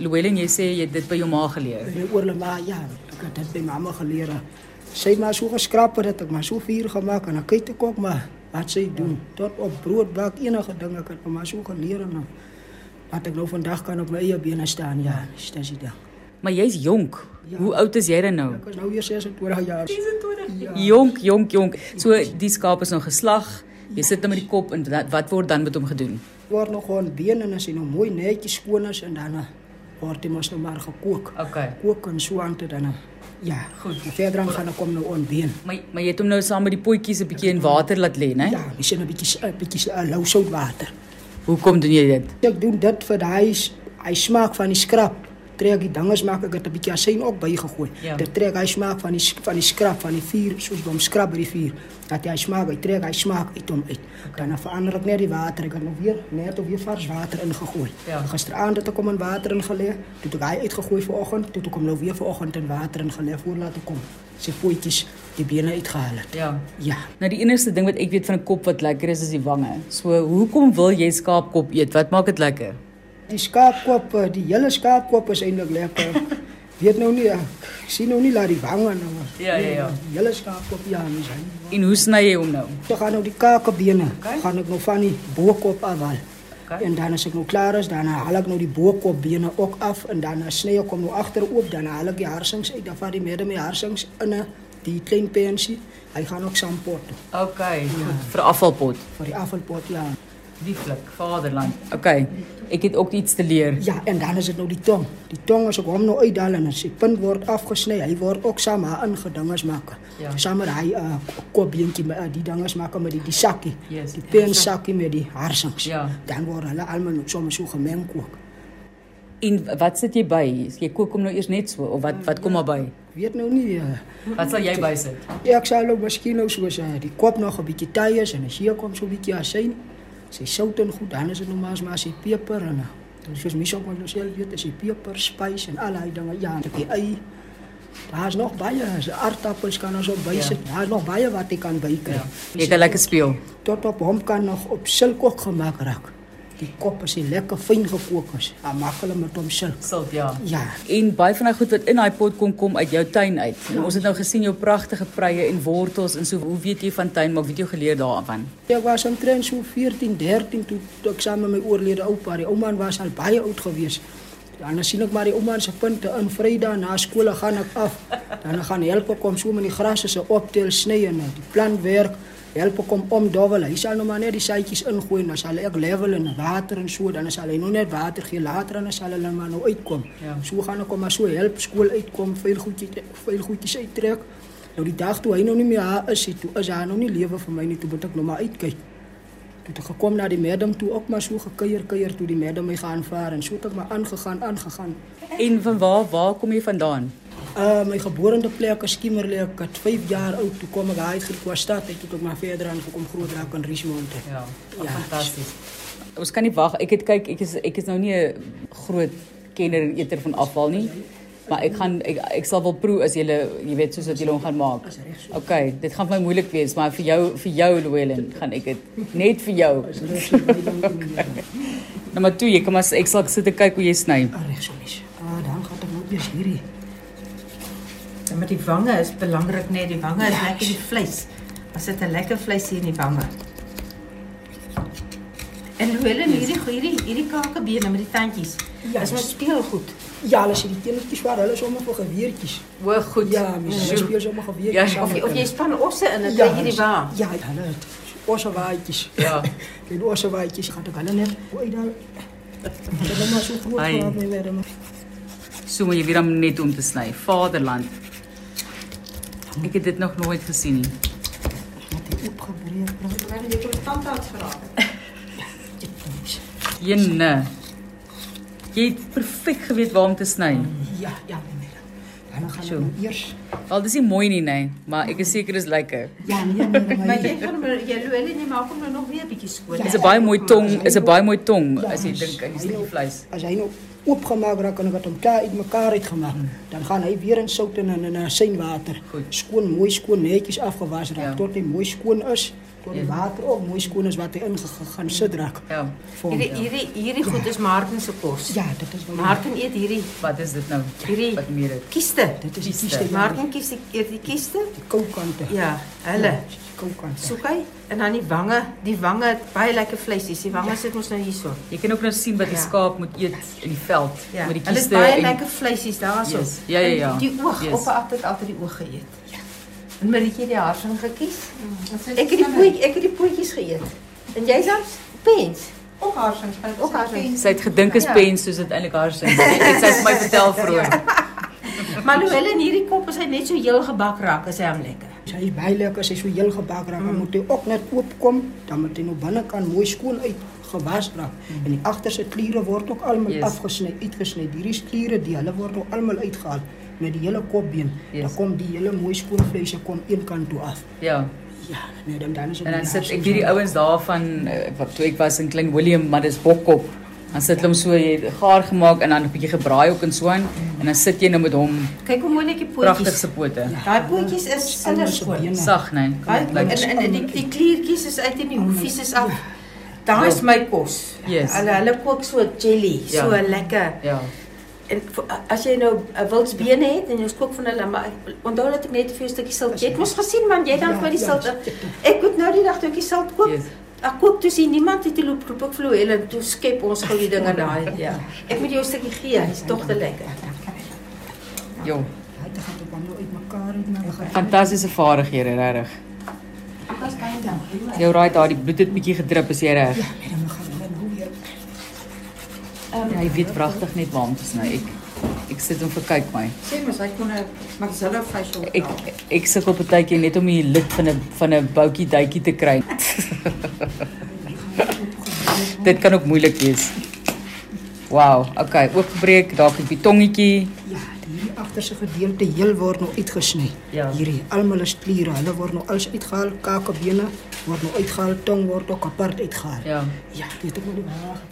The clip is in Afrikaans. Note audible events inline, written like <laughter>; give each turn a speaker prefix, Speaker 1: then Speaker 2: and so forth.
Speaker 1: Llewellyn, jy sê jy het dit by jou ma geleer.
Speaker 2: En oor hulle maar ja, ek het dit by mamma geleer. Sy het maar so geskraap dat ek maar so vuur gemaak en ek kyk ek ook maar wat sy doen. Tot op brood bak enige ding ek het maar so geleer en dat ek nou vandag kan op my eie bene staan. Ja, dis dis die ding.
Speaker 1: Maar jy's jonk. Hoe oud is jy dan nou?
Speaker 2: Ek is nou hier 26 jaar.
Speaker 1: Jonk, jonk, jonk. So die skaap is nou geslag. Jy sit hom met die kop en wat- wat word dan met hom gedoen?
Speaker 2: Word nog gewoon bene en as hy nou mooi netjies skoon is en dan eh, word hy mos nou maar gekook.
Speaker 1: Okay.
Speaker 2: Kook en so aan te dan. eh, Ja,
Speaker 1: Goed.
Speaker 2: En Verder dan gaan ek kom nou onbeen.
Speaker 1: Maar maar jy het hom nou saam met die potjies 'n bietjie in water laat lê, né?
Speaker 2: Ja, dis 'n bietjie s- 'n bietjie uh, lou soutwater.
Speaker 1: Hoekom doen jy dit?
Speaker 2: Ek doen dit vir daai s- hy smaak van die skrap. Trek die dinges maak ek het 'n bietjie asyn ook bygegooi.
Speaker 1: Ja.
Speaker 2: Dit trek hy smaak van die sk- van die skrap van die vuur soos hom skrap by die vuur. Dat hy smaak, hy trek hy smaak uit hom uit. Dan dan verander ek net die water. Ek het nog weer net of weer vars water ingegooi.
Speaker 1: Ja.
Speaker 2: Gisteraand het ek hom in water ingelê. Toe het ek hy uitgegooi vanoggend, toe het ek hom nou weer vanoggend in water ingelê voor laat ek kom. Sy voetjies die bene uitgehaal het.
Speaker 1: Ja.
Speaker 2: Ja.
Speaker 1: Nou die enigste ding wat ek weet van 'n kop wat lekker is is die wange. So hoekom wil jy skaapkop eet? Wat maak dit lekker?
Speaker 2: Die skaapkop, eh, die hele skaapkop is eintlik lekker.
Speaker 1: <laughs>
Speaker 2: Weet nou nie, ek sien nou nie laat die wange nou.
Speaker 1: Ja, ja, ja.
Speaker 2: Die hele skaapkop ja, mens. hy.
Speaker 1: En hoe sny jy hom nou?
Speaker 2: Dan gaan nou die kakebene,
Speaker 1: Oké.
Speaker 2: gaan ek nou van die bokop afhaal.
Speaker 1: Oké.
Speaker 2: En dan as ek nou klaar is, dan haal ek nou die bokopbene ook af en dan sny ek hom nou agter oop, dan haal ek die harsings uit, dan vat die midde met die harsings in 'n die klein pensie. Hy gaan ook saam pot toe,
Speaker 1: Okay, goed vir afvalpot.
Speaker 2: vir die afvalpot ja.
Speaker 1: Lieflik, vaderland. Okay, ek het ook iets te leer.
Speaker 2: Ja, en dan is dit nou die tong. Die tong as ek hom nou uithaal en as die punt word afgesny, hy word ook saam haar ingedinges maak.
Speaker 1: Ja.
Speaker 2: Ja. Saam met hy uh, kopbeentjie met uh, die dinges maak met die, die sakkie.
Speaker 1: Yes,
Speaker 2: die
Speaker 1: die
Speaker 2: peensakkie met die harsings.
Speaker 1: Ja.
Speaker 2: Dan word hulle almal nou sommer so gemeng ook.
Speaker 1: En wat sit jy by? Jy kook hom nou eers net so of wat wat kom maar by?
Speaker 2: Ek weet nou nie uh,
Speaker 1: Wat sal jy bysit?
Speaker 2: ek sal nou miskien nou soos uh, die kop nog 'n bietjie tye is en as hier kom so 'n bietjie asyn. Sy sout en goed, dan is dit nou maar as maar as die peper en uh, soos mens ook maar nou self weet, as die peper, spys en al daai dinge, ja, en die ei. Daar's nog baie, as aardappels kan ons op bysit. Ja. Daar's nog baie wat jy kan bykry.
Speaker 1: Jy kan lekker speel.
Speaker 2: Tot op hom kan nog op silk ook gemaak raak. Die kop as hy lekker fyn gekook is, dan maak hulle met hom silk.
Speaker 1: Silt ja.
Speaker 2: Ja.
Speaker 1: En baie van daai goed wat in daai pot kom kom uit jou tuin uit. En ons het nou gesien jou pragtige prye en wortels en so. Hoe weet jy van tuin? Maar weet jy geleer daarvan?
Speaker 2: Ek was omtrent so 14, 13 toe toe ek saam met my oorlede oupa, die ouma was al baie oud gewees. Dan sien ek maar die ouma se punte in Vrydag na skool gaan ek af. Dan gaan help ek hom so met die gras se optel sny en die plantwerk. Help ek hom omdowel. Hy sal nou maar net die saadjies ingooi en dan sal ek level en water en so dan sal hy nou net water gee later en dan sal hulle maar nou uitkom.
Speaker 1: Ja.
Speaker 2: Ja. So gaan ek hom maar so help skool uitkom, veel goedjies veel goedjies uittrek. Nou die dag toe hy nou nie meer haar is, nie, toe is haar nou nie lewe vir my nie, toe moet ek nou maar uitkyk. Toe het ek gekom na die madam toe ook maar so gekuier kuier toe die madam my gaan vaar en so het ek maar aangegaan aangegaan.
Speaker 1: En van waar waar kom jy vandaan?
Speaker 2: Uh my geboorende plek is Skiemerlee, ek het 5 jaar oud toe kom ek daar uit Griekwa stad uit toe het ek maar verder aan gekom groot raak in Richmond. Ja. Ja.
Speaker 1: fantasties. Ons kan nie wag. Ek het kyk, ek is ek is nou nie 'n groot kenner en eter van afval nie. Maar ek gaan ek, ek sal wel proe as jy jy weet soos wat jy hom gaan maak.
Speaker 2: As reg so.
Speaker 1: OK, dit gaan vir my moeilik wees, maar vir jou vir jou Llewellyn gaan ek dit net vir jou.
Speaker 2: Is reg so baie dankie meneer.
Speaker 1: Nommer 2, jy kan maar s- ek sal sit en kyk hoe jy sny.
Speaker 2: Ah, Reg so mens. Ah dan gaan ek nou weer hierdie.
Speaker 3: En met die wange is belangrik net die wange is lekker die vleis. As dit 'n lekker vleis hier in die wange. En hulle hierdie hierdie hierdie kakebene met die tandjies.
Speaker 2: Ja,
Speaker 3: Dis mos
Speaker 2: dis-
Speaker 3: speelgoed.
Speaker 2: Ja, hulle sê die kindertjies waar hulle sommer vir geweertjies.
Speaker 3: O, goed.
Speaker 2: Ja, mens hulle speel sommer geweertjies.
Speaker 1: Ja,
Speaker 2: saam
Speaker 3: Of jy,
Speaker 2: met
Speaker 3: of jy
Speaker 2: hulle.
Speaker 3: span osse in, dan kry jy die wa.
Speaker 2: Ja, hulle het ossewaadjies. <laughs>
Speaker 1: Ja.
Speaker 2: En ossewaadjies gaan ek hulle net hoe daar. Dit is maar so groot
Speaker 1: Ai.
Speaker 2: gehad nie meer. maar-
Speaker 1: So moet jy weer hom net om te sny. Vaderland. Ek het dit nog nooit gesien nie.
Speaker 2: Wat het opgebreek raak.
Speaker 3: Ek wil net oor tandarts vra.
Speaker 1: Jenne. Jy het perfek geweet waar om te sny.
Speaker 2: Ja, ja, nee. Dan gaan
Speaker 1: Zo.
Speaker 2: ek nou eers.
Speaker 1: Wel dis nie mooi nie, nee, maar ek is seker dis lekker.
Speaker 2: Ja, nee, nee,
Speaker 1: <laughs>
Speaker 3: Maar
Speaker 2: maar
Speaker 3: jy gaan hom- jy hulle nie maak hom nou nog weer 'n bietjie skoon.
Speaker 2: Ja.
Speaker 1: Dis 'n baie mooi tong, is 'n baie mooi tong as jy dink aan die stukkie vleis.
Speaker 2: as hy nou oopgemaak raak en ek het hom klaar uitmekaar uitgemaak, dan gaan hy weer in sout en in in asyn water.
Speaker 1: Goed.
Speaker 2: Skoon, mooi skoon netjies afgewas raak
Speaker 1: Ja.
Speaker 2: tot hy mooi skoon is. tot die water ook mooi skoon is wat hy ingegaan sit raak.
Speaker 1: Ja.
Speaker 2: Vorm.
Speaker 3: Hierdie hierdie hierdie goed is Martin se kos.
Speaker 2: Ja, dit is wel.
Speaker 3: Martin eet hierdie
Speaker 1: Wat is dit nou?
Speaker 3: hierdie
Speaker 1: Wat meer dit?
Speaker 3: kieste.
Speaker 2: Dit is die
Speaker 1: Kieste.
Speaker 2: kieste.
Speaker 3: Martin kies die eet die kieste.
Speaker 2: koukante.
Speaker 3: Ja, hulle
Speaker 2: koukante.
Speaker 3: soek hy en dan die wange, die wange het baie lekker vleisies. Die wange sit ons nou hierso.
Speaker 1: Jy kan ook nou sien wat die
Speaker 3: Ja.
Speaker 1: skaap moet eet in die veld
Speaker 3: Ja.
Speaker 1: met die
Speaker 3: Hulle is
Speaker 1: kiste
Speaker 3: baie
Speaker 1: en
Speaker 3: lekker vleisies daarso.
Speaker 1: Yes. Ja, ja, ja.
Speaker 3: En Die oog,
Speaker 1: Yes.
Speaker 3: yes. oupa het altyd die oog geëet. Ja. Mm, En Maritjie het die harsing gekies.
Speaker 4: Ek
Speaker 3: Ek het die poot, ek het die pootjies geëet. En jy dan? Pens.
Speaker 4: ook haarsings,
Speaker 3: Ook haarsings.
Speaker 1: sy het gedink is
Speaker 3: Ja.
Speaker 1: pens soos dit eintlik haar sin. Dit sy vir my vertel vroeër.
Speaker 3: Maar nou hulle in hierdie kop as hy net so heel gebak raak, is hy hom lekker.
Speaker 2: Sy is baie lekker, sy is so heel gebak raak,
Speaker 1: Mm.
Speaker 2: dan moet hy ook net oopkom, dan moet hy nou binnekant mooi skoon uitgewas raak. En die agterste kliere word ook almal
Speaker 1: Mm. Yes.
Speaker 2: afgesny, uitgesny. Hierdie kliere, die hulle word nou almal uitgehaal met die hele kopbeen.
Speaker 1: Yes.
Speaker 2: Dan kom die hele mooi skoon vleis kom een kant toe af.
Speaker 1: Ja.
Speaker 2: Ja, nee, dan dan is dit
Speaker 1: En dan sit ek
Speaker 2: harsings.
Speaker 1: weet die ouens daarvan eh, wat toe ek was in Klein Willem, maar dis bokkop. Dan sit hulle hom so jy het gaar gemaak en dan 'n bietjie gebraai ook en so aan en dan sit jy nou met hom
Speaker 3: Kyk hoe mooi net die
Speaker 1: pragtig
Speaker 3: pootjies.
Speaker 1: se pote.
Speaker 3: Daai pootjies is
Speaker 2: Almal se
Speaker 3: sinderskoon.
Speaker 2: bene.
Speaker 1: Sag, nee.
Speaker 3: Ja. Baie
Speaker 1: Lyk-
Speaker 3: en en en die die kliertjies is uit en die hoefies is af. Daar is my kos.
Speaker 1: Yes.
Speaker 3: Hulle hulle kook so jelly,
Speaker 1: Ja.
Speaker 3: so lekker.
Speaker 1: Ja.
Speaker 3: En v- as jy nou 'n wildsbene het en jy kook van hulle, maar ek- onthou dat ek net vir jou 'n stukkie sout. Jy het mos gesien man, jy dan
Speaker 2: Ja,
Speaker 3: vir die
Speaker 2: ja.
Speaker 3: sout. Ek moet nou die dag toe ek die sout koop.
Speaker 1: Yes.
Speaker 3: Ek koop toe sien niemand het te loop roep ek vir hulle Helen, toe skep ons gou die dinge daai. Ja. Ek moet jou 'n stukkie gee, dis tog te lekker.
Speaker 1: Jo.
Speaker 2: Ja, dit gaan ook nou uitmekaar uit, maar dan gaan
Speaker 1: Fantastiese vaardighede, regtig.
Speaker 4: Ek was baie dankie.
Speaker 1: Jou raai daar die bloed het bietjie gedrup as jy reg.
Speaker 2: en dan gaan hulle nou weer
Speaker 1: Ja, hy weet pragtig net waar om te sny. Ek ek sit hom vir kyk my.
Speaker 4: Sê mos hy kon 'n maxilla facial.
Speaker 1: Ek ek sukkel baie keer net om die lid van 'n van 'n boutjie duitjie te kry. <laughs> Dit kan ook moeilik wees. Wow, okay, oopgebreek, daar kom die tongetjie.
Speaker 2: Ja, hierdie agterste gedeelte heel word nou uitgesny.
Speaker 1: Ja.
Speaker 2: Hierdie almal is kliere, hulle word nou alles uitgehaal, kakebene word nou uitgehaal, tong word ook apart uitgehaal.
Speaker 1: Ja.
Speaker 2: Ja, dit moet nou waar.